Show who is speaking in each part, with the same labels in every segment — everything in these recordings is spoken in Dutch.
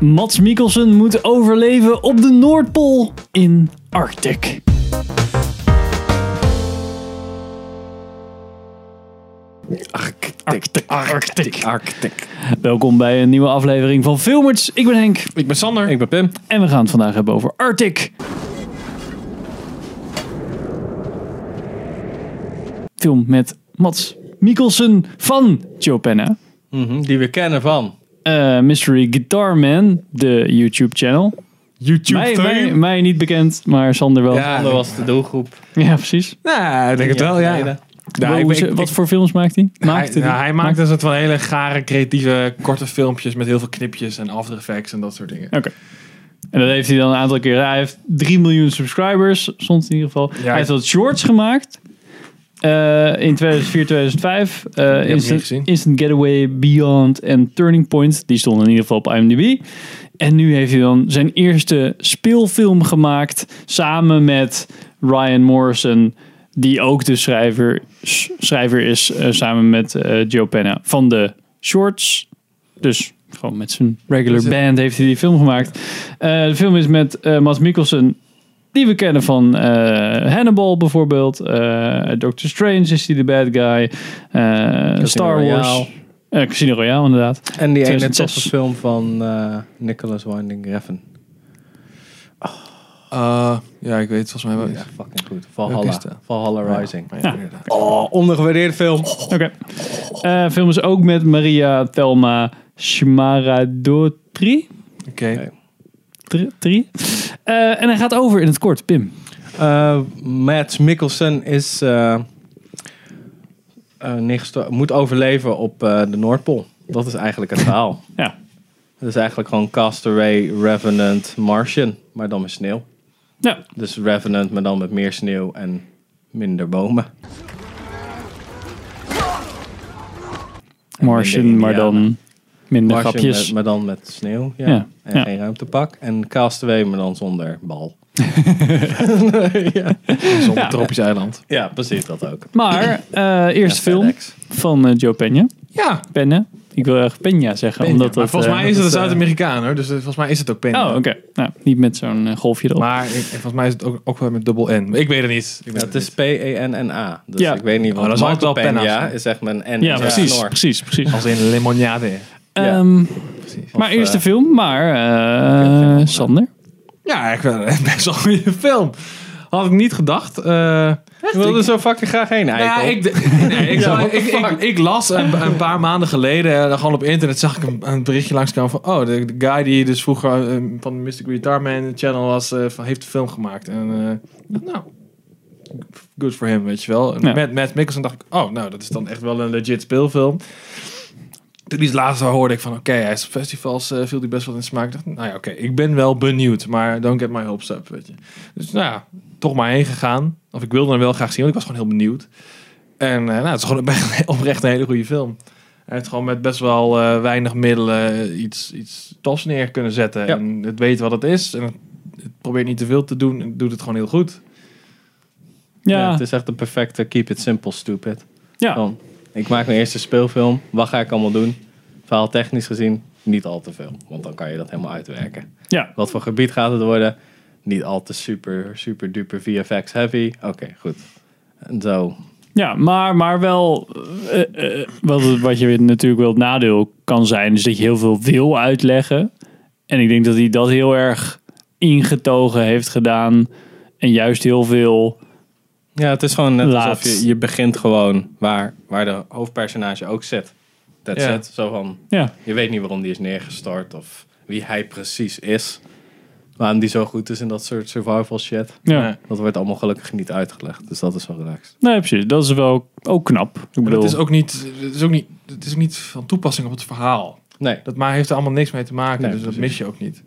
Speaker 1: Mats Mikkelsen moet overleven op de Noordpool in Arctic.
Speaker 2: Arctic,
Speaker 1: Arctic, Arctic.
Speaker 2: Arctic.
Speaker 1: Welkom bij een nieuwe aflevering van Filmers. Ik ben Henk
Speaker 2: Ik ben Sander. Ik ben Pim.
Speaker 1: en we gaan het vandaag hebben over Arctic. Film met Mats Mikkelsen van Chopin.
Speaker 2: Die we kennen van
Speaker 1: Eh Mystery Guitar Man, de YouTube channel.
Speaker 2: YouTube.
Speaker 1: Mij, mij, mij niet bekend, maar Sander wel. Ja,
Speaker 2: Ja, dat was de doelgroep.
Speaker 1: precies.
Speaker 3: Nou, ik denk het wel, ja.
Speaker 2: Geleden.
Speaker 3: Nou,
Speaker 1: Hoe
Speaker 3: ik-
Speaker 1: ze-
Speaker 3: ik-
Speaker 1: wat voor films maakt hij? Maakte
Speaker 3: hij,
Speaker 1: die?
Speaker 3: nou, hij maakt dus het van hele gare, creatieve, korte filmpjes met heel veel knipjes en after effects en dat soort dingen.
Speaker 1: Oké. En dat heeft hij dan een aantal keer. Hij heeft 3 miljoen subscribers, soms in ieder geval. hij heeft wat shorts gemaakt. eh, in 2004, 2005. eh,
Speaker 3: niet
Speaker 1: Instant,
Speaker 3: gezien.
Speaker 1: Instant Getaway, Beyond en Turning Point. Die stonden in ieder geval op IMDb. En nu heeft hij dan zijn eerste speelfilm gemaakt. Samen met Ryan Morrison. Die ook de schrijver, s- schrijver is. eh, samen met eh, Joe Penna. Van de shorts. Dus gewoon met zijn regular
Speaker 3: Dus het-
Speaker 1: band heeft hij die film gemaakt. Eh, de film is met eh Mads Mikkelsen, die we kennen van eh, Hannibal bijvoorbeeld. Eh, Doctor Strange is hij de bad guy. Eh, Star Wars.
Speaker 2: Royale.
Speaker 1: Eh, Casino Royale inderdaad.
Speaker 2: En die ene
Speaker 1: 2006.
Speaker 2: toffe film van eh, Nicholas Winding Refn.
Speaker 3: Eh, Oh, ja, ik weet het volgens mij wel.
Speaker 2: Ja, fucking goed.
Speaker 3: Welke
Speaker 2: Valhalla.
Speaker 3: is dat?
Speaker 2: Valhalla Rising.
Speaker 3: Ja.
Speaker 2: Oh, ondergewaardeerde film.
Speaker 1: Oké. Eh, film is ook met Maria Thelma Smaradotri.
Speaker 3: Oké.
Speaker 1: Tri, tri. Eh, en hij gaat over in het kort, Pim.
Speaker 2: Eh, Mads Mikkelsen is, eh, eh, neergesto- moet overleven op eh, de Noordpool. Dat is eigenlijk het verhaal.
Speaker 1: Ja.
Speaker 2: Het is eigenlijk gewoon Castaway, Revenant, Martian, maar dan met sneeuw.
Speaker 1: Nou,
Speaker 2: Dus Revenant, maar dan met meer sneeuw en minder bomen.
Speaker 1: Martian,
Speaker 2: minder
Speaker 1: maar dan
Speaker 2: Indianen.
Speaker 1: minder
Speaker 2: Martian,
Speaker 1: grapjes.
Speaker 2: met- maar dan met sneeuw. Ja.
Speaker 1: Ja,
Speaker 2: En
Speaker 1: ja.
Speaker 2: geen ruimtepak. En Castaway, maar dan zonder bal. ja.
Speaker 3: Zonder
Speaker 1: Ja.
Speaker 3: tropisch eiland.
Speaker 2: ja, precies dat ook.
Speaker 1: Maar, eh eerste
Speaker 2: Ja,
Speaker 1: film
Speaker 2: FedEx.
Speaker 1: van eh, Joe Peña.
Speaker 3: Ja.
Speaker 1: Penne. Ik wil erg Peña zeggen.
Speaker 3: Peña.
Speaker 1: Omdat
Speaker 3: Maar
Speaker 1: dat,
Speaker 3: volgens
Speaker 1: eh,
Speaker 3: mij is het
Speaker 2: dat
Speaker 3: een
Speaker 2: is, eh,
Speaker 3: Zuid-Amerikaan hoor. Dus eh, volgens mij is het ook Peña.
Speaker 1: Oh, oké. Nou, niet met zo'n eh, golfje erop.
Speaker 3: Maar ik- volgens mij is het ook, ook wel met dubbel N. Maar Ik weet het niet. Ik weet
Speaker 2: Ja, het is P-E-N-N-A. Dus
Speaker 1: Ja.
Speaker 2: ik weet niet wat.
Speaker 3: Oh, dat is
Speaker 2: Marco
Speaker 3: altijd wel penna's.
Speaker 2: Peña is echt met een N.
Speaker 1: ja,
Speaker 2: in de
Speaker 1: precies,
Speaker 2: snor.
Speaker 1: precies, precies.
Speaker 3: Als in limonade.
Speaker 2: ja.
Speaker 1: Ehm,
Speaker 3: Precies.
Speaker 1: maar
Speaker 2: Of,
Speaker 1: eerste
Speaker 2: eh,
Speaker 1: film, maar eh,
Speaker 2: ja,
Speaker 1: Sander.
Speaker 3: Ja, ik vind het best wel een goede film. Had ik niet gedacht. Eh
Speaker 2: Ik wilde zo fucking graag heen,
Speaker 3: Ja,
Speaker 2: eikel.
Speaker 3: Nou, ik, d- nee, ik, zag-
Speaker 2: Ja, what the
Speaker 3: ik, ik,
Speaker 2: fuck?
Speaker 3: ik las een, een paar maanden geleden, eh, gewoon op internet, zag ik een, een berichtje langskomen van... Oh, de, de guy die dus vroeger eh, van de Mr. Guitar Man channel was, eh, van, heeft de film gemaakt. En eh, ik dacht, nou, good for him, weet je wel. En
Speaker 1: Ja.
Speaker 3: Met Matt Mikkelsen dacht ik, oh, nou, dat is dan echt wel een legit speelfilm. Toen die laatste hoorde ik van, oké, hij is op festivals, eh, viel die best wel in de smaak. Ik dacht, nou ja, oké, ik ben wel benieuwd, maar don't get my hopes up, weet je. Dus nou ja, toch maar heen gegaan. Of ik wilde hem wel graag zien, want ik was gewoon heel benieuwd. En eh, nou, het is gewoon een- oprecht een hele goede film. Hij heeft gewoon met best wel eh, weinig middelen iets, iets tofs neer kunnen zetten.
Speaker 2: Ja.
Speaker 3: En het weet wat het is. En het, het probeert niet te veel te doen. En het doet het gewoon heel goed.
Speaker 1: Ja,
Speaker 2: Ja, het is echt een perfecte keep it simple, stupid.
Speaker 1: ja.
Speaker 2: Van, ik maak mijn eerste speelfilm. Wat ga ik allemaal doen? Verhaal technisch gezien niet al te veel. Want dan kan je dat helemaal uitwerken.
Speaker 1: ja.
Speaker 2: Wat voor gebied gaat het worden? Niet al te super, super duper VFX heavy. Oké, goed. En zo.
Speaker 1: Ja, maar, maar wel. eh, eh, wat, het- wat je weer natuurlijk wel het nadeel kan zijn, is dat je heel veel wil uitleggen. En ik denk dat hij dat heel erg ingetogen heeft gedaan. En juist heel veel.
Speaker 2: Ja, het is gewoon net
Speaker 1: Laat.
Speaker 2: alsof je, je begint gewoon waar, waar de hoofdpersonage ook zit. That's
Speaker 3: Ja.
Speaker 2: it. Zo van,
Speaker 1: Ja,
Speaker 2: je weet niet waarom die is neergestort of wie hij precies is. Waarom die zo goed is in dat soort survival shit.
Speaker 1: ja.
Speaker 3: Ja.
Speaker 2: Dat wordt allemaal gelukkig niet uitgelegd. Dus dat is wel relaxed.
Speaker 1: Nee, precies. Dat is wel ook knap. Ik
Speaker 3: Maar
Speaker 1: bedoel,
Speaker 3: het is, ook niet, het, is ook niet, het is ook niet van toepassing op het verhaal.
Speaker 2: Nee,
Speaker 3: Dat maar heeft er allemaal niks mee te maken.
Speaker 2: Nee,
Speaker 3: dus dat
Speaker 2: precies.
Speaker 3: mis je ook niet.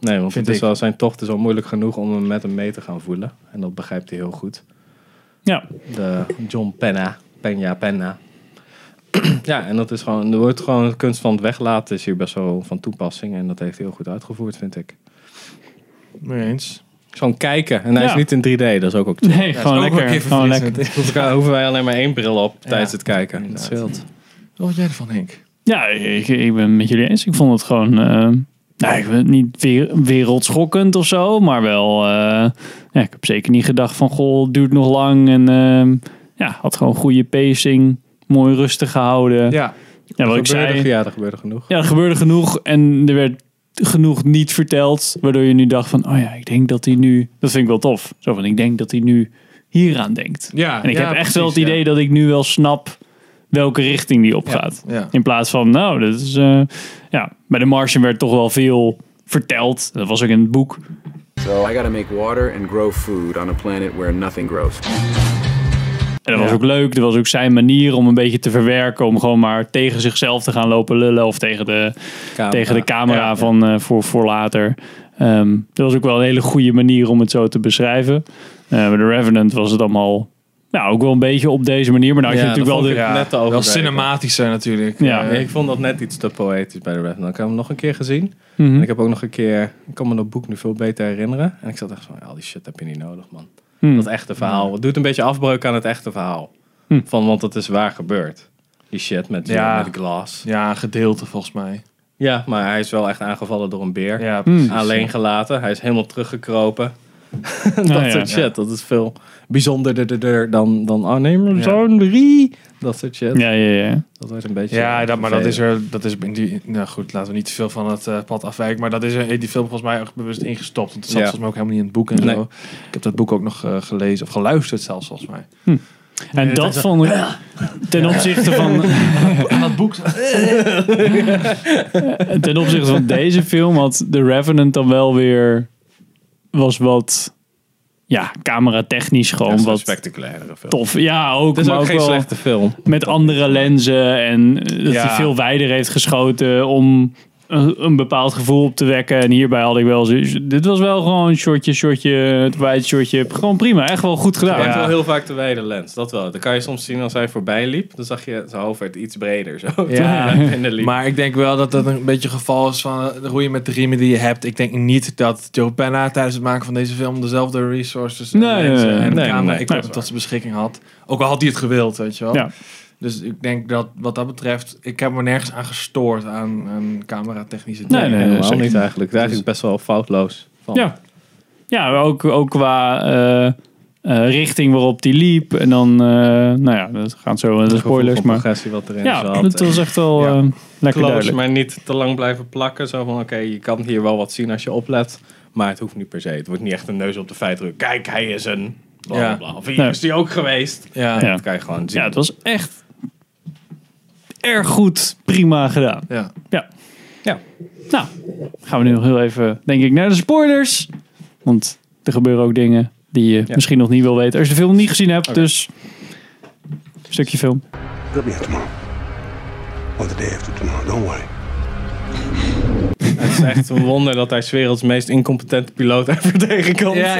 Speaker 2: nee want
Speaker 3: Vind
Speaker 2: het is
Speaker 3: ik.
Speaker 2: wel, zijn tocht is al moeilijk genoeg om hem met hem mee te gaan voelen. En dat begrijpt hij heel goed.
Speaker 1: ja.
Speaker 2: De John Penna. Penja Penna. ja, en dat is gewoon, er wordt gewoon de kunst van het weglaten is hier best wel van toepassing. En dat heeft hij heel goed uitgevoerd, vind ik.
Speaker 3: Mee eens.
Speaker 2: Gewoon kijken. En hij
Speaker 1: Ja.
Speaker 2: is niet in 3D, dat is ook ook chill.
Speaker 1: Nee, gewoon lekker. Gewoon lekker.
Speaker 2: Hoeven- hoeven wij alleen maar één bril op tijdens het kijken.
Speaker 3: inderdaad. Wat vond jij ervan, Henk?
Speaker 1: Ja, ik, ik ben met jullie eens. Ik vond het gewoon eh, Nou, ik weet niet weer- wereldschokkend of zo, maar wel. eh, ja, ik heb zeker niet gedacht van goh, het duurt nog lang. En ehm, ja, had gewoon goede pacing. Mooi rustig gehouden. Ja,
Speaker 2: Ja,
Speaker 1: wat ik
Speaker 2: gebeurde,
Speaker 1: zei.
Speaker 2: ja, er gebeurde genoeg.
Speaker 1: Ja, er gebeurde genoeg en er werd genoeg niet verteld. Waardoor je nu dacht van, oh ja, ik denk dat hij nu... Dat vind ik wel tof. Zo van, ik denk dat hij nu hieraan denkt.
Speaker 3: Ja,
Speaker 1: En ik
Speaker 3: ja,
Speaker 1: heb echt
Speaker 3: precies,
Speaker 1: wel het
Speaker 3: ja.
Speaker 1: idee dat ik nu wel snap welke richting die opgaat.
Speaker 3: Ja.
Speaker 1: In plaats van, nou, dat is... eh, ja, bij de Martian werd toch wel veel verteld. Dat was ook in het boek.
Speaker 4: So I gotta make water and grow food on a planet where nothing grows.
Speaker 1: En dat was ook leuk. Dat was ook zijn manier om een beetje te verwerken. Om gewoon maar tegen zichzelf te gaan lopen lullen. Of tegen de,
Speaker 2: Camera.
Speaker 1: tegen de camera
Speaker 2: Ja, ja.
Speaker 1: van eh, voor, voor later. Ehm, dat was ook wel een hele goede manier om het zo te beschrijven. Eh, Bij de Revenant was het allemaal nou, ook wel een beetje op deze manier. Maar nou, had je
Speaker 2: Ja,
Speaker 1: natuurlijk wel
Speaker 2: dat
Speaker 1: de...
Speaker 2: vond ik net te
Speaker 3: wel
Speaker 2: overdreven.
Speaker 3: cinematischer natuurlijk.
Speaker 1: Ja.
Speaker 3: Eh,
Speaker 2: Ja, ik vond dat net iets te poëtisch bij de Revenant. Ik heb hem nog een keer gezien.
Speaker 1: Mhm.
Speaker 2: En ik heb ook nog een keer... Ik kan me dat boek nu veel beter herinneren. En ik zat echt van, al die shit heb je niet nodig, man.
Speaker 1: Hmm.
Speaker 2: Dat echte verhaal. Het doet een beetje afbreuk aan het echte verhaal.
Speaker 1: Hm.
Speaker 2: Van, want het is waar gebeurd. Die shit met,
Speaker 3: Ja.
Speaker 2: met glas.
Speaker 3: ja, een gedeelte volgens mij.
Speaker 2: Ja, maar hij is wel echt aangevallen door een beer.
Speaker 3: Ja,
Speaker 1: precies.
Speaker 2: Alleen gelaten. Hij is helemaal teruggekropen. dat
Speaker 1: ja.
Speaker 2: soort shit. Dat is veel bijzonderder dan, dan oh nee, maar
Speaker 3: Ja.
Speaker 2: zo'n drie. Dat soort shit.
Speaker 1: Ja, ja, ja.
Speaker 2: Dat wordt een beetje...
Speaker 3: Ja, dat, maar dat is
Speaker 2: vervelend.
Speaker 3: er. Dat is in die, nou goed, laten we niet te veel van het eh, pad afwijken. Maar dat is er in die film volgens mij echt bewust ingestopt. Want het zat
Speaker 2: Ja.
Speaker 3: volgens mij ook helemaal niet in het boek en
Speaker 2: Nee.
Speaker 3: zo. Ik heb dat boek ook nog eh, gelezen of geluisterd zelfs volgens mij.
Speaker 1: En dat vond ik ten opzichte van...
Speaker 3: dat boek.
Speaker 1: ten opzichte van deze film had The Revenant dan wel weer was wat ja camera technisch
Speaker 2: Ja, het
Speaker 1: gewoon
Speaker 2: is een
Speaker 1: wat
Speaker 2: spectaculaire film.
Speaker 1: tof ja ook
Speaker 2: Het is
Speaker 1: maar
Speaker 2: ook
Speaker 1: ook,
Speaker 2: geen
Speaker 1: wel
Speaker 2: slechte film.
Speaker 1: met andere lenzen en eh, dat
Speaker 3: Ja.
Speaker 1: hij veel wijder heeft geschoten om een, een bepaald gevoel op te wekken en hierbij had ik wel zoiets- dit was wel gewoon shotje shotje het wijd shotje gewoon prima echt wel goed gedaan
Speaker 2: Hij heeft
Speaker 1: ja.
Speaker 2: wel heel vaak de wijde lens, dat wel. Dan kan je soms zien als hij voorbij liep, dan zag je zijn hoofd werd iets breder. Zo.
Speaker 3: Ja.
Speaker 2: en de liep.
Speaker 3: Maar ik denk wel dat dat een beetje het geval is van eh, hoe je met de riemen die je hebt. Ik denk niet dat Joe Penna tijdens het maken van deze film dezelfde resources eh, en
Speaker 1: Nee,
Speaker 3: lenzen
Speaker 1: nee, nee,
Speaker 3: en
Speaker 2: nee,
Speaker 3: camera
Speaker 2: nee,
Speaker 3: ik
Speaker 2: nee,
Speaker 3: tot tot zijn beschikking had. Ook al had hij het gewild, weet je wel.
Speaker 1: Ja.
Speaker 3: Dus ik denk dat wat dat betreft, ik heb me nergens aan gestoord aan, aan camera technische
Speaker 1: Nee,
Speaker 3: dingen.
Speaker 1: nee,
Speaker 2: helemaal
Speaker 1: zeker
Speaker 2: niet eigenlijk. Het is eigenlijk best wel foutloos. Van.
Speaker 1: Ja. Ja, maar ook, ook qua eh, eh, richting waarop die liep. En dan, eh, nou ja, dat gaat zo in de
Speaker 2: Het gevoel
Speaker 1: spoilers.
Speaker 2: van
Speaker 1: Maar
Speaker 2: progressie wat erin
Speaker 1: ja,
Speaker 2: zat.
Speaker 1: het was echt wel
Speaker 2: Ja.
Speaker 1: eh, lekker
Speaker 2: Close,
Speaker 1: duidelijk.
Speaker 2: maar niet te lang blijven plakken. Zo van, oké, je kan hier wel wat zien als je oplet, maar het hoeft niet per se. Het wordt niet echt een neus op de feit druk. Kijk, hij is een... Bla,
Speaker 3: Ja.
Speaker 2: bla, bla. Of hier
Speaker 1: Nee.
Speaker 2: is hij ook geweest.
Speaker 3: Ja.
Speaker 1: Ja.
Speaker 2: Dat kan je gewoon zien.
Speaker 1: Ja, het was echt erg goed, prima gedaan.
Speaker 3: ja.
Speaker 1: Ja.
Speaker 2: Ja.
Speaker 1: Nou, gaan we nu nog heel even, denk ik, naar de spoilers. Want er gebeuren ook dingen die je
Speaker 2: Ja.
Speaker 1: misschien nog niet wil weten. Als je de film niet gezien hebt, dus... Stukje film.
Speaker 5: It'll be here tomorrow. Or the day after tomorrow. Don't worry.
Speaker 2: Het is echt een wonder dat hij 's werelds meest incompetente piloot ever tegenkomt.
Speaker 3: Ja,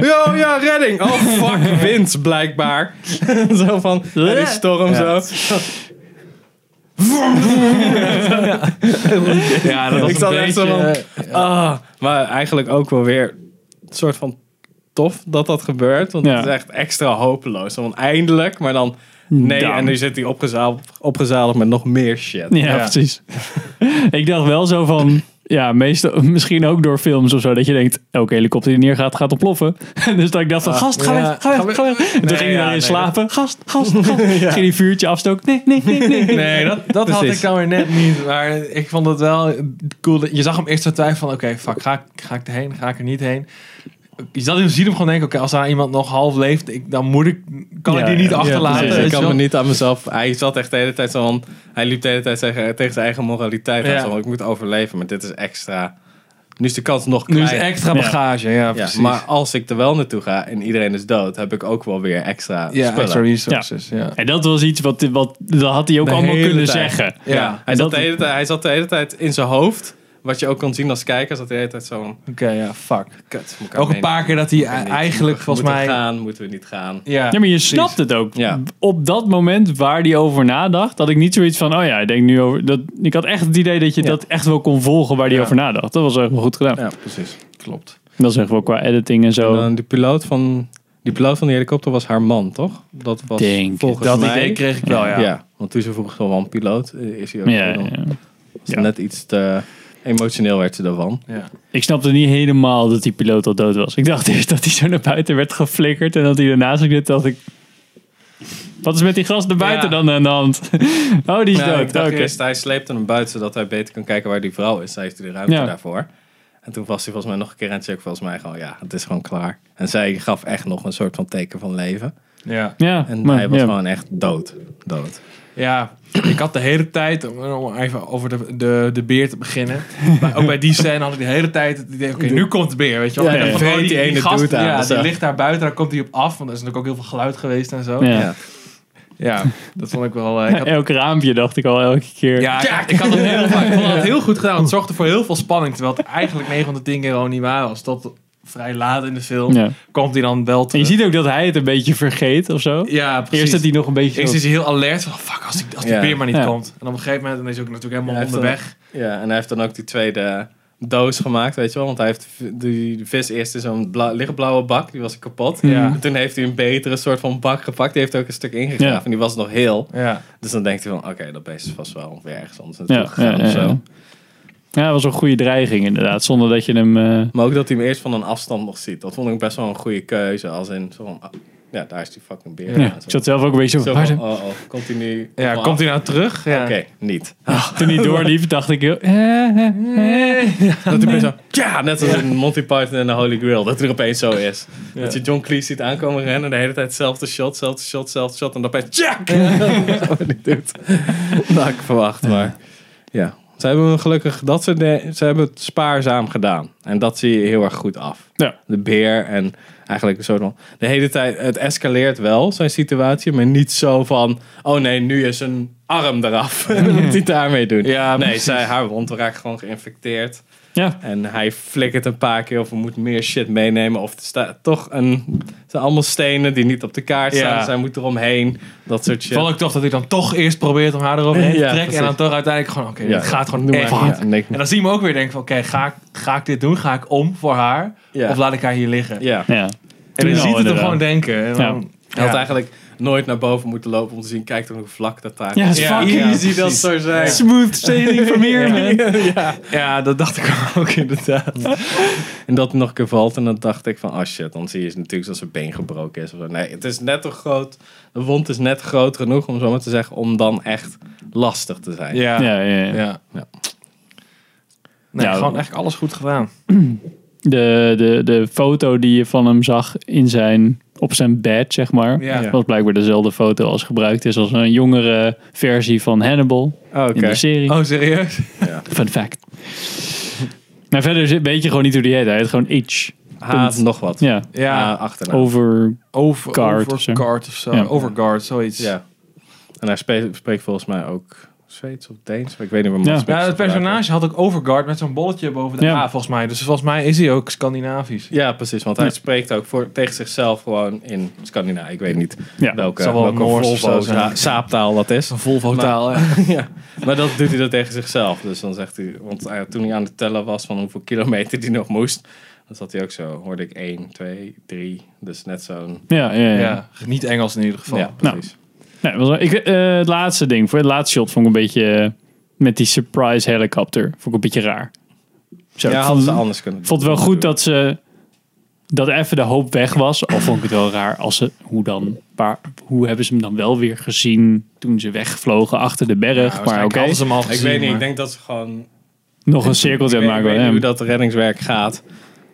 Speaker 2: Yo, ja, redding. Oh, fuck, wind, blijkbaar. zo van, er is storm, zo.
Speaker 3: Ja, dat was
Speaker 2: Ik
Speaker 3: een
Speaker 2: zat
Speaker 3: beetje... eh,
Speaker 2: echt zo Ah, maar eigenlijk ook wel weer een soort van tof dat dat gebeurt. Want
Speaker 1: Ja.
Speaker 2: het is echt extra hopeloos. Want eindelijk, maar dan... Nee,
Speaker 1: Dan.
Speaker 2: en nu zit hij opgezadigd, opgezadigd met nog meer shit.
Speaker 1: Ja, precies. ik dacht wel zo van. Ja, meestal, misschien ook door films of zo. Dat je denkt, elke helikopter die neergaat, gaat ontploffen. dus dat ik dacht van, gast, ga
Speaker 3: ja.
Speaker 1: weg, ga weg,
Speaker 3: Ga weg.
Speaker 1: ga weg. En toen
Speaker 2: Nee,
Speaker 1: ging hij
Speaker 2: ja,
Speaker 1: daarin
Speaker 2: nee,
Speaker 1: slapen. Gast, gast, gast. Ging die vuurtje afstoken. Nee, nee, nee, nee.
Speaker 3: Nee, dat, dat had
Speaker 2: Precies.
Speaker 3: ik dan weer net niet. Maar ik vond het wel cool. dat- Je zag hem eerst zo twijfelen van, oké, fuck, ga, ik- ga ik erheen? Ga ik er niet heen? Je zat in ziet hem gewoon denken, oké, als daar iemand nog half leeft, ik, dan moet ik, kan
Speaker 1: Ja,
Speaker 3: ik die niet
Speaker 1: ja.
Speaker 3: achterlaten.
Speaker 2: Dus
Speaker 3: weet
Speaker 2: ik
Speaker 3: je
Speaker 2: kan
Speaker 3: wel?
Speaker 2: me niet aan mezelf. Hij zat echt de hele tijd zo van. Hij liep de hele tijd tegen, tegen zijn eigen moraliteit. aan.
Speaker 3: Ja.
Speaker 2: Zo van, ik moet overleven, maar dit is extra. Nu is de kans nog
Speaker 3: Nu
Speaker 2: kleiner.
Speaker 3: is extra
Speaker 1: Ja.
Speaker 3: bagage, ja,
Speaker 2: Ja,
Speaker 3: precies.
Speaker 2: maar als ik er wel naartoe ga en iedereen is dood, heb ik ook wel weer extra
Speaker 3: ja,
Speaker 2: spullen.
Speaker 3: extra resources, ja.
Speaker 1: En dat was iets wat, wat dat had hij ook
Speaker 3: De
Speaker 1: allemaal
Speaker 3: hele
Speaker 1: kunnen
Speaker 3: tijd.
Speaker 1: zeggen.
Speaker 2: Ja.
Speaker 3: Ja.
Speaker 2: Hij,
Speaker 1: Dat-
Speaker 2: zat de hele tijd, hij zat de hele tijd in zijn hoofd. Wat je ook kon zien als kijker, zat de hele tijd zo'n
Speaker 3: Oké, ja, fuck.
Speaker 2: kut. moet ik
Speaker 3: Ook
Speaker 2: alleen-
Speaker 3: een paar keer dat hij
Speaker 2: moet ik niet,
Speaker 3: eigenlijk
Speaker 2: moeten
Speaker 3: volgens mij...
Speaker 2: we gaan, moeten we niet gaan.
Speaker 1: Ja, maar je
Speaker 3: precies.
Speaker 1: snapt het ook.
Speaker 2: Ja.
Speaker 1: Op dat moment waar hij over nadacht, had ik niet zoiets van, oh ja, ik denk nu over... Dat, ik had echt het idee dat je
Speaker 2: Ja.
Speaker 1: dat echt wel kon volgen waar hij
Speaker 2: Ja.
Speaker 1: over nadacht. Dat was echt wel goed gedaan.
Speaker 2: Ja, precies.
Speaker 3: Klopt.
Speaker 1: Dat is echt wel qua editing en zo.
Speaker 2: En dan die piloot van die piloot van die helikopter was haar man, toch? Dat was
Speaker 1: Denk ik.
Speaker 2: volgens
Speaker 3: Dat
Speaker 2: mij.
Speaker 3: idee kreeg ik wel,
Speaker 2: ja.
Speaker 3: ja.
Speaker 2: want toen ze vroeg zo wel een piloot eh, is hij ook
Speaker 1: ja,
Speaker 2: dan
Speaker 1: ja.
Speaker 2: was het net iets te Emotioneel werd ze daarvan.
Speaker 3: Ja.
Speaker 1: Ik snapte niet helemaal dat die piloot al dood was. Ik dacht eerst dat hij zo naar buiten werd geflikkerd en dat hij daarna zo zit. Dacht ik, wat is met die gast naar buiten
Speaker 2: Ja.
Speaker 1: dan aan de hand? Oh, die is
Speaker 2: Nou, ik
Speaker 1: dood.
Speaker 2: dacht
Speaker 1: Oké.
Speaker 2: eerst, hij sleepte hem buiten zodat hij beter kan kijken waar die vrouw is. Hij heeft hij de ruimte
Speaker 1: Ja.
Speaker 2: daarvoor. En toen was hij volgens mij nog een keer aan het checken. Volgens mij gewoon, ja, het is gewoon klaar. En zij gaf echt nog een soort van teken van leven.
Speaker 3: Ja.
Speaker 1: Ja,
Speaker 2: En
Speaker 1: maar,
Speaker 2: hij was
Speaker 1: ja.
Speaker 2: gewoon echt dood. Dood.
Speaker 3: Ja, ik had de hele tijd, om- om even over de, de, de beer te beginnen. Maar ook bij die scène had ik de hele tijd het idee, oké, nu komt de beer, weet je wel.
Speaker 2: Ja,
Speaker 3: Ik dacht
Speaker 2: ja.
Speaker 3: van, oh,
Speaker 2: Vreet die ene dude aan,
Speaker 3: ja,
Speaker 2: zo.
Speaker 3: die dus ligt daar buiten, daar komt hij op af. Want er is natuurlijk ook heel veel geluid geweest en zo.
Speaker 1: Ja.
Speaker 3: Ja, dat vond ik wel... eh, ik had-
Speaker 1: Elk raampje dacht ik al elke keer.
Speaker 3: ja, ik, ik had het heel, vaak- ik vond het heel goed gedaan. want Het zorgde voor heel veel spanning, terwijl het eigenlijk 9 van de 10 keer gewoon niet waar was. Tot vrij laat in de film
Speaker 1: Ja.
Speaker 3: komt hij dan wel
Speaker 1: En je
Speaker 3: terug.
Speaker 1: ziet ook dat hij het een beetje vergeet of zo.
Speaker 3: ja, precies.
Speaker 1: Eerst dat hij nog een beetje
Speaker 3: Eerst
Speaker 1: zo...
Speaker 3: is hij heel alert. Van, fuck, als, ik, als die
Speaker 2: Ja.
Speaker 3: beer maar niet
Speaker 1: Ja.
Speaker 3: komt. En op een gegeven moment dan is hij ook natuurlijk helemaal
Speaker 2: Ja, hij heeft
Speaker 3: onderweg.
Speaker 2: Ja, en hij heeft dan ook die tweede doos gemaakt, weet je wel. Want hij heeft v- die vis eerst in zo'n bla- lichtblauwe bak, die was kapot.
Speaker 3: Ja.
Speaker 2: En toen heeft hij een betere soort van bak gepakt. Die heeft ook een stuk ingegraven
Speaker 1: Ja.
Speaker 2: en die was nog heel.
Speaker 3: Ja.
Speaker 2: Dus dan denkt hij van, oké, dat beest is vast wel weer ergens anders naartoe
Speaker 1: Ja, ja,
Speaker 2: gegaan
Speaker 1: ja,
Speaker 2: of
Speaker 1: ja.
Speaker 2: zo.
Speaker 1: Ja, dat was een goede dreiging inderdaad. Zonder dat je hem... eh,
Speaker 2: Maar ook dat hij hem eerst van een afstand nog ziet. Dat vond ik best wel een goede keuze. Als in, zo van, ah, ja, daar is die fucking beer.
Speaker 1: ja,
Speaker 2: Ja,
Speaker 1: ik zat zelf ook een beetje zo...
Speaker 2: Zo
Speaker 1: van,
Speaker 2: van,
Speaker 1: waar de-
Speaker 2: oh, oh, komt hij nu?
Speaker 3: Ja,
Speaker 2: af?
Speaker 3: komt hij nou terug? Ja.
Speaker 2: Oké, niet.
Speaker 1: Toen hij doorliep, dacht ik... heel- eh, eh, eh.
Speaker 2: Dat hij opeens zo, ja, net als in Monty Python en de Holy Grail, dat er opeens zo is. Dat je John Cleese ziet aankomen rennen, de hele tijd hetzelfde shot, hetzelfde shot, hetzelfde shot, en dan opeens, jack! Dat niet doet. Nou, ik verwacht, maar ja. Ze hebben gelukkig, dat ze, de- ze hebben het spaarzaam gedaan. En dat zie je heel erg goed af.
Speaker 1: Ja.
Speaker 2: De beer en eigenlijk een soort van, de hele tijd, het escaleert wel, zijn situatie, maar niet zo van, oh nee, nu is een arm eraf. En dan moet hij het daarmee doen.
Speaker 3: Ja,
Speaker 2: nee,
Speaker 3: precies.
Speaker 2: zij, haar wond raakt gewoon geïnfecteerd.
Speaker 1: Ja,
Speaker 2: En hij flikkert een paar keer of we moeten meer shit meenemen. Of er staat toch een... Het zijn allemaal stenen die niet op de kaart staan.
Speaker 3: Ja.
Speaker 2: Dus hij moet eromheen. Dat soort shit.
Speaker 3: Val ik toch dat hij dan toch eerst probeert om haar eroverheen te
Speaker 2: Ja,
Speaker 3: trekken. en dan
Speaker 2: precies.
Speaker 3: toch uiteindelijk gewoon, oké,
Speaker 2: Ja,
Speaker 3: dit gaat gewoon
Speaker 2: doe
Speaker 3: echt
Speaker 2: maar.
Speaker 3: hard.
Speaker 2: Ja, niks meer.
Speaker 3: En dan zie je hem ook weer denken van, oké, ga, ik- ga ik dit doen? Ga ik om voor haar?
Speaker 2: Ja.
Speaker 3: Of laat ik haar hier liggen?
Speaker 2: Ja.
Speaker 1: ja.
Speaker 3: En
Speaker 1: Toen al,
Speaker 3: je ziet het hem
Speaker 1: inderdaad.
Speaker 3: gewoon denken. En dan,
Speaker 2: Hij had
Speaker 3: Ja.
Speaker 2: eigenlijk nooit naar boven moeten lopen om te zien... Kijk dan hoe vlak dat daar
Speaker 1: Ja, is
Speaker 3: Ja,
Speaker 1: fucking
Speaker 3: ja,
Speaker 1: easy
Speaker 3: precies.
Speaker 1: dat zou zijn.
Speaker 3: Ja.
Speaker 1: Smooth sailing from here, man.
Speaker 3: ja, dat dacht ik ook inderdaad.
Speaker 2: En dat hij nog een keer valt. En dan dacht ik van... Oh shit, dan zie je natuurlijk dat zijn been gebroken is. Of zo. Nee, het is net te groot. De wond is net groot genoeg om zo maar te zeggen... Om dan echt lastig te zijn.
Speaker 3: Ja.
Speaker 1: Ja, ja, ja.
Speaker 3: Ja.
Speaker 2: Ja.
Speaker 3: Nee,
Speaker 1: Ja,
Speaker 3: gewoon
Speaker 1: dat-
Speaker 3: eigenlijk alles goed gedaan.
Speaker 1: De, de, de foto die je van hem zag in zijn, op zijn bed, zeg maar,
Speaker 3: Ja.
Speaker 1: was blijkbaar dezelfde foto als gebruikt is als een jongere versie van Hannibal
Speaker 2: Oh, Oké.
Speaker 1: in de serie.
Speaker 3: Oh, serieus?
Speaker 1: Fun fact. Maar verder zit- weet je gewoon niet hoe die heet. Hij heet gewoon Itch.
Speaker 2: Haat nog wat.
Speaker 1: Ja,
Speaker 3: Ja,
Speaker 2: Ah, achternaam.
Speaker 1: over...
Speaker 3: over,
Speaker 1: Guard
Speaker 3: over
Speaker 1: of zo.
Speaker 3: guard of zo.
Speaker 1: Ja.
Speaker 3: Overguard, zoiets.
Speaker 2: Ja. En hij spreekt, spreekt volgens mij ook Zweeds of Deens. Maar ik weet niet waar
Speaker 1: Ja.
Speaker 2: Mats
Speaker 3: Ja,
Speaker 2: Mikkelsen
Speaker 3: het personage had ook overguard met zo'n bolletje boven de
Speaker 1: Ja.
Speaker 3: A, volgens mij. Dus volgens mij is hij ook Scandinavisch.
Speaker 2: gebruikt. Ja, precies. Want hij
Speaker 1: Ja.
Speaker 2: spreekt ook voor, tegen zichzelf gewoon in Scandinavië. Ik weet niet
Speaker 1: Ja.
Speaker 2: welke,
Speaker 3: Zal wel
Speaker 2: welke
Speaker 3: Noors of zo
Speaker 2: Volvo
Speaker 3: zijn.
Speaker 2: za- saaptaal dat is.
Speaker 3: Een Volvo-taal, hè?
Speaker 2: ja. Maar dat doet hij dat tegen zichzelf. Dus dan zegt hij... Want hij- toen hij aan het tellen was van hoeveel kilometer hij nog moest... Dan zat hij ook zo. Hoorde ik 1, 2, 3. Dus net zo'n...
Speaker 1: Ja, ja, ja.
Speaker 3: Ja, niet Engels in ieder geval.
Speaker 2: Ja, precies.
Speaker 1: Nee,
Speaker 3: Nou,
Speaker 1: was wel- ik, eh, het laatste ding, voor het laatste shot vond ik een beetje... eh, met die surprise helicopter. Vond ik een beetje raar. Zo,
Speaker 2: ja,
Speaker 1: ik
Speaker 2: hadden
Speaker 1: vond-
Speaker 2: ze anders kunnen
Speaker 1: Ik vond het wel goed dat ze dat even de hoop weg was. Al vond ik het wel raar als ze hoe dan waar, hoe hebben ze hem dan wel weer gezien toen ze wegvlogen achter de berg. maar oké,
Speaker 3: Hadden ze hem al gezien,
Speaker 2: Ik weet niet.
Speaker 3: maar-
Speaker 2: Ik denk dat ze gewoon
Speaker 1: nog een cirkeltje
Speaker 2: Ik weet-
Speaker 1: maken.
Speaker 2: Ik weet
Speaker 1: ja.
Speaker 2: niet hoe dat reddingswerk gaat.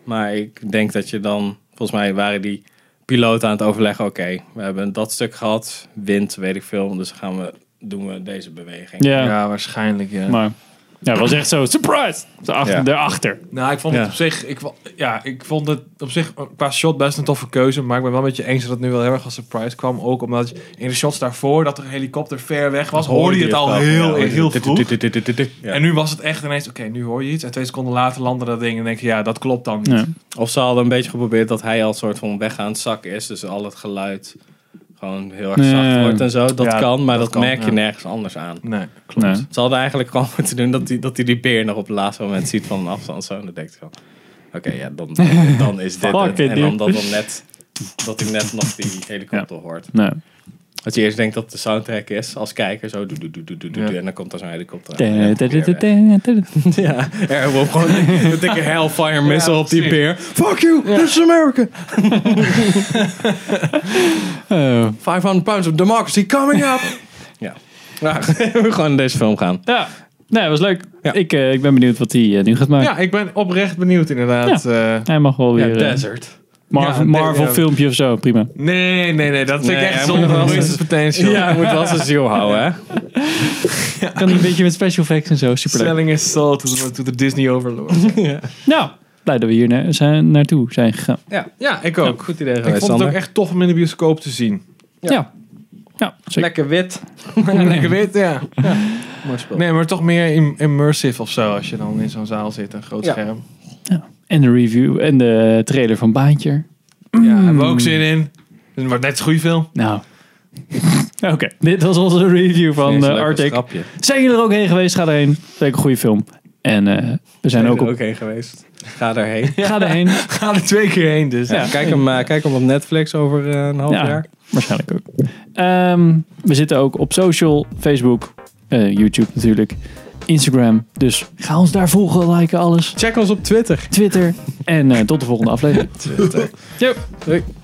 Speaker 2: Maar ik denk dat je dan... Volgens mij waren die piloten aan het overleggen. Oké, we hebben dat stuk gehad. Wind, weet ik veel. Dus gaan we, doen we deze beweging.
Speaker 1: ja,
Speaker 3: ja. waarschijnlijk, ja.
Speaker 1: maar ja, het was echt zo surprise. Daarachter.
Speaker 2: Ja.
Speaker 1: daarachter.
Speaker 3: nou, ik vond het
Speaker 2: Ja.
Speaker 3: op zich... Ik, wa- ja, ik vond het op zich eh, qua shot best een toffe keuze. Maar ik ben wel met je eens dat het nu wel heel erg als surprise kwam. Ook omdat je in de shots daarvoor dat er een helikopter ver weg was... hoorde je het al
Speaker 2: wel. Ja,
Speaker 3: heel,
Speaker 2: hoorde je
Speaker 3: heel
Speaker 2: dit,
Speaker 3: vroeg.
Speaker 2: dit, dit, dit, dit, dit, dit. Ja.
Speaker 3: En nu was het echt ineens... Oké, nu hoor je iets. En twee seconden later landde dat ding. En denk je, ja, dat klopt dan niet.
Speaker 1: Ja.
Speaker 2: Of ze hadden een beetje geprobeerd dat hij al soort van weggaand zak is. Dus al het geluid gewoon heel erg
Speaker 1: Nee.
Speaker 2: zacht wordt en zo. Dat
Speaker 3: Ja,
Speaker 2: kan, maar dat,
Speaker 3: dat kan,
Speaker 2: merk je
Speaker 3: ja.
Speaker 2: nergens anders aan.
Speaker 3: Nee, klopt.
Speaker 1: Nee.
Speaker 2: Ze hadden eigenlijk gewoon moeten doen dat hij dat die, die beer nog op het laatste moment ziet van een afstand. Zo, en dan denkt hij van, oké, ja, dan, dan is dit
Speaker 1: Fuck
Speaker 2: het.
Speaker 1: it,
Speaker 2: En dan
Speaker 1: dude.
Speaker 2: dat dan net, dat hij net nog die helikopter hoort.
Speaker 1: Nee.
Speaker 2: Dat je eerst denkt dat het de soundtrack is als kijker. Zo doe, doe, doe, doe, doe, doe,
Speaker 3: Ja.
Speaker 2: doe, En dan komt er zo'n helikopter. aan.
Speaker 1: Da- da-
Speaker 2: Ja,
Speaker 1: da-
Speaker 2: weer
Speaker 1: da-
Speaker 2: weg.
Speaker 1: da- da- da-
Speaker 2: Ja, er wordt gewoon een dikke Hellfire missile
Speaker 3: Ja,
Speaker 2: op die
Speaker 3: precies.
Speaker 2: peer. Fuck you, this is America.
Speaker 1: Oh.
Speaker 2: 500 pounds of democracy coming up. ja. Nou, we gewoon in deze film gaan.
Speaker 1: Ja, nee, was leuk.
Speaker 2: Ja.
Speaker 1: Ik, eh, ik ben benieuwd wat hij eh, nu gaat maken.
Speaker 3: Ja, ik ben oprecht benieuwd inderdaad. eh.
Speaker 1: Hij mag wel weer eh,
Speaker 2: Desert.
Speaker 1: Marvel,
Speaker 3: Ja, de-
Speaker 1: Marvel
Speaker 3: ja.
Speaker 1: filmpje of zo, prima.
Speaker 3: nee, nee, nee. Dat vind
Speaker 2: Nee,
Speaker 3: ik echt
Speaker 2: hij moet
Speaker 3: zonder
Speaker 2: wel
Speaker 3: business
Speaker 2: eens-
Speaker 3: potential.
Speaker 2: Ja, moet wel zijn ziel houden, hè?
Speaker 1: Kan hij een beetje met special effects en zo, superleuk.
Speaker 3: Selling is dus soul to the, to the Disney overlord.
Speaker 1: Nou, blij dat we hier na- zijn, naartoe zijn gegaan.
Speaker 2: Ja,
Speaker 3: ja, ik ook.
Speaker 2: goed idee
Speaker 3: ik
Speaker 2: geweest,
Speaker 3: vond het ook
Speaker 2: Sander.
Speaker 3: echt tof om in de bioscoop te zien.
Speaker 1: Ja, ja. zeker.
Speaker 2: Lekker wit.
Speaker 3: Lekker wit, ja.
Speaker 2: Mooi spel.
Speaker 3: Nee, maar toch meer im- immersive of zo als je dan in zo'n zaal zit, een groot
Speaker 2: Ja.
Speaker 3: scherm.
Speaker 1: En de review en de trailer van Baantje.
Speaker 3: Ja, hebben we ook zin in. Het wordt net een goede film.
Speaker 1: Nou. Oké, dit was onze review van
Speaker 2: Ineens een
Speaker 1: eh,
Speaker 2: leuk
Speaker 1: Arctic.
Speaker 2: grapje.
Speaker 1: Zijn jullie er ook heen geweest? Ga erheen. Zeker een goede film. En eh, we zijn
Speaker 2: Ben
Speaker 1: ook
Speaker 2: ook,
Speaker 1: op.
Speaker 2: ook heen geweest. Ga daarheen.
Speaker 1: Ga erheen.
Speaker 3: Ga er twee keer heen, dus.
Speaker 1: Ja.
Speaker 2: Kijk, hem, eh, kijk hem op Netflix over eh, een half
Speaker 1: Ja.
Speaker 2: jaar.
Speaker 1: Waarschijnlijk ook. Ehm, we zitten ook op social, Facebook, eh, YouTube natuurlijk, Instagram. Dus ga ons daar volgen, liken, alles.
Speaker 2: Check ons op Twitter.
Speaker 1: Twitter. En eh, tot de volgende aflevering.
Speaker 2: Twitter.
Speaker 1: Yep.
Speaker 2: Doei.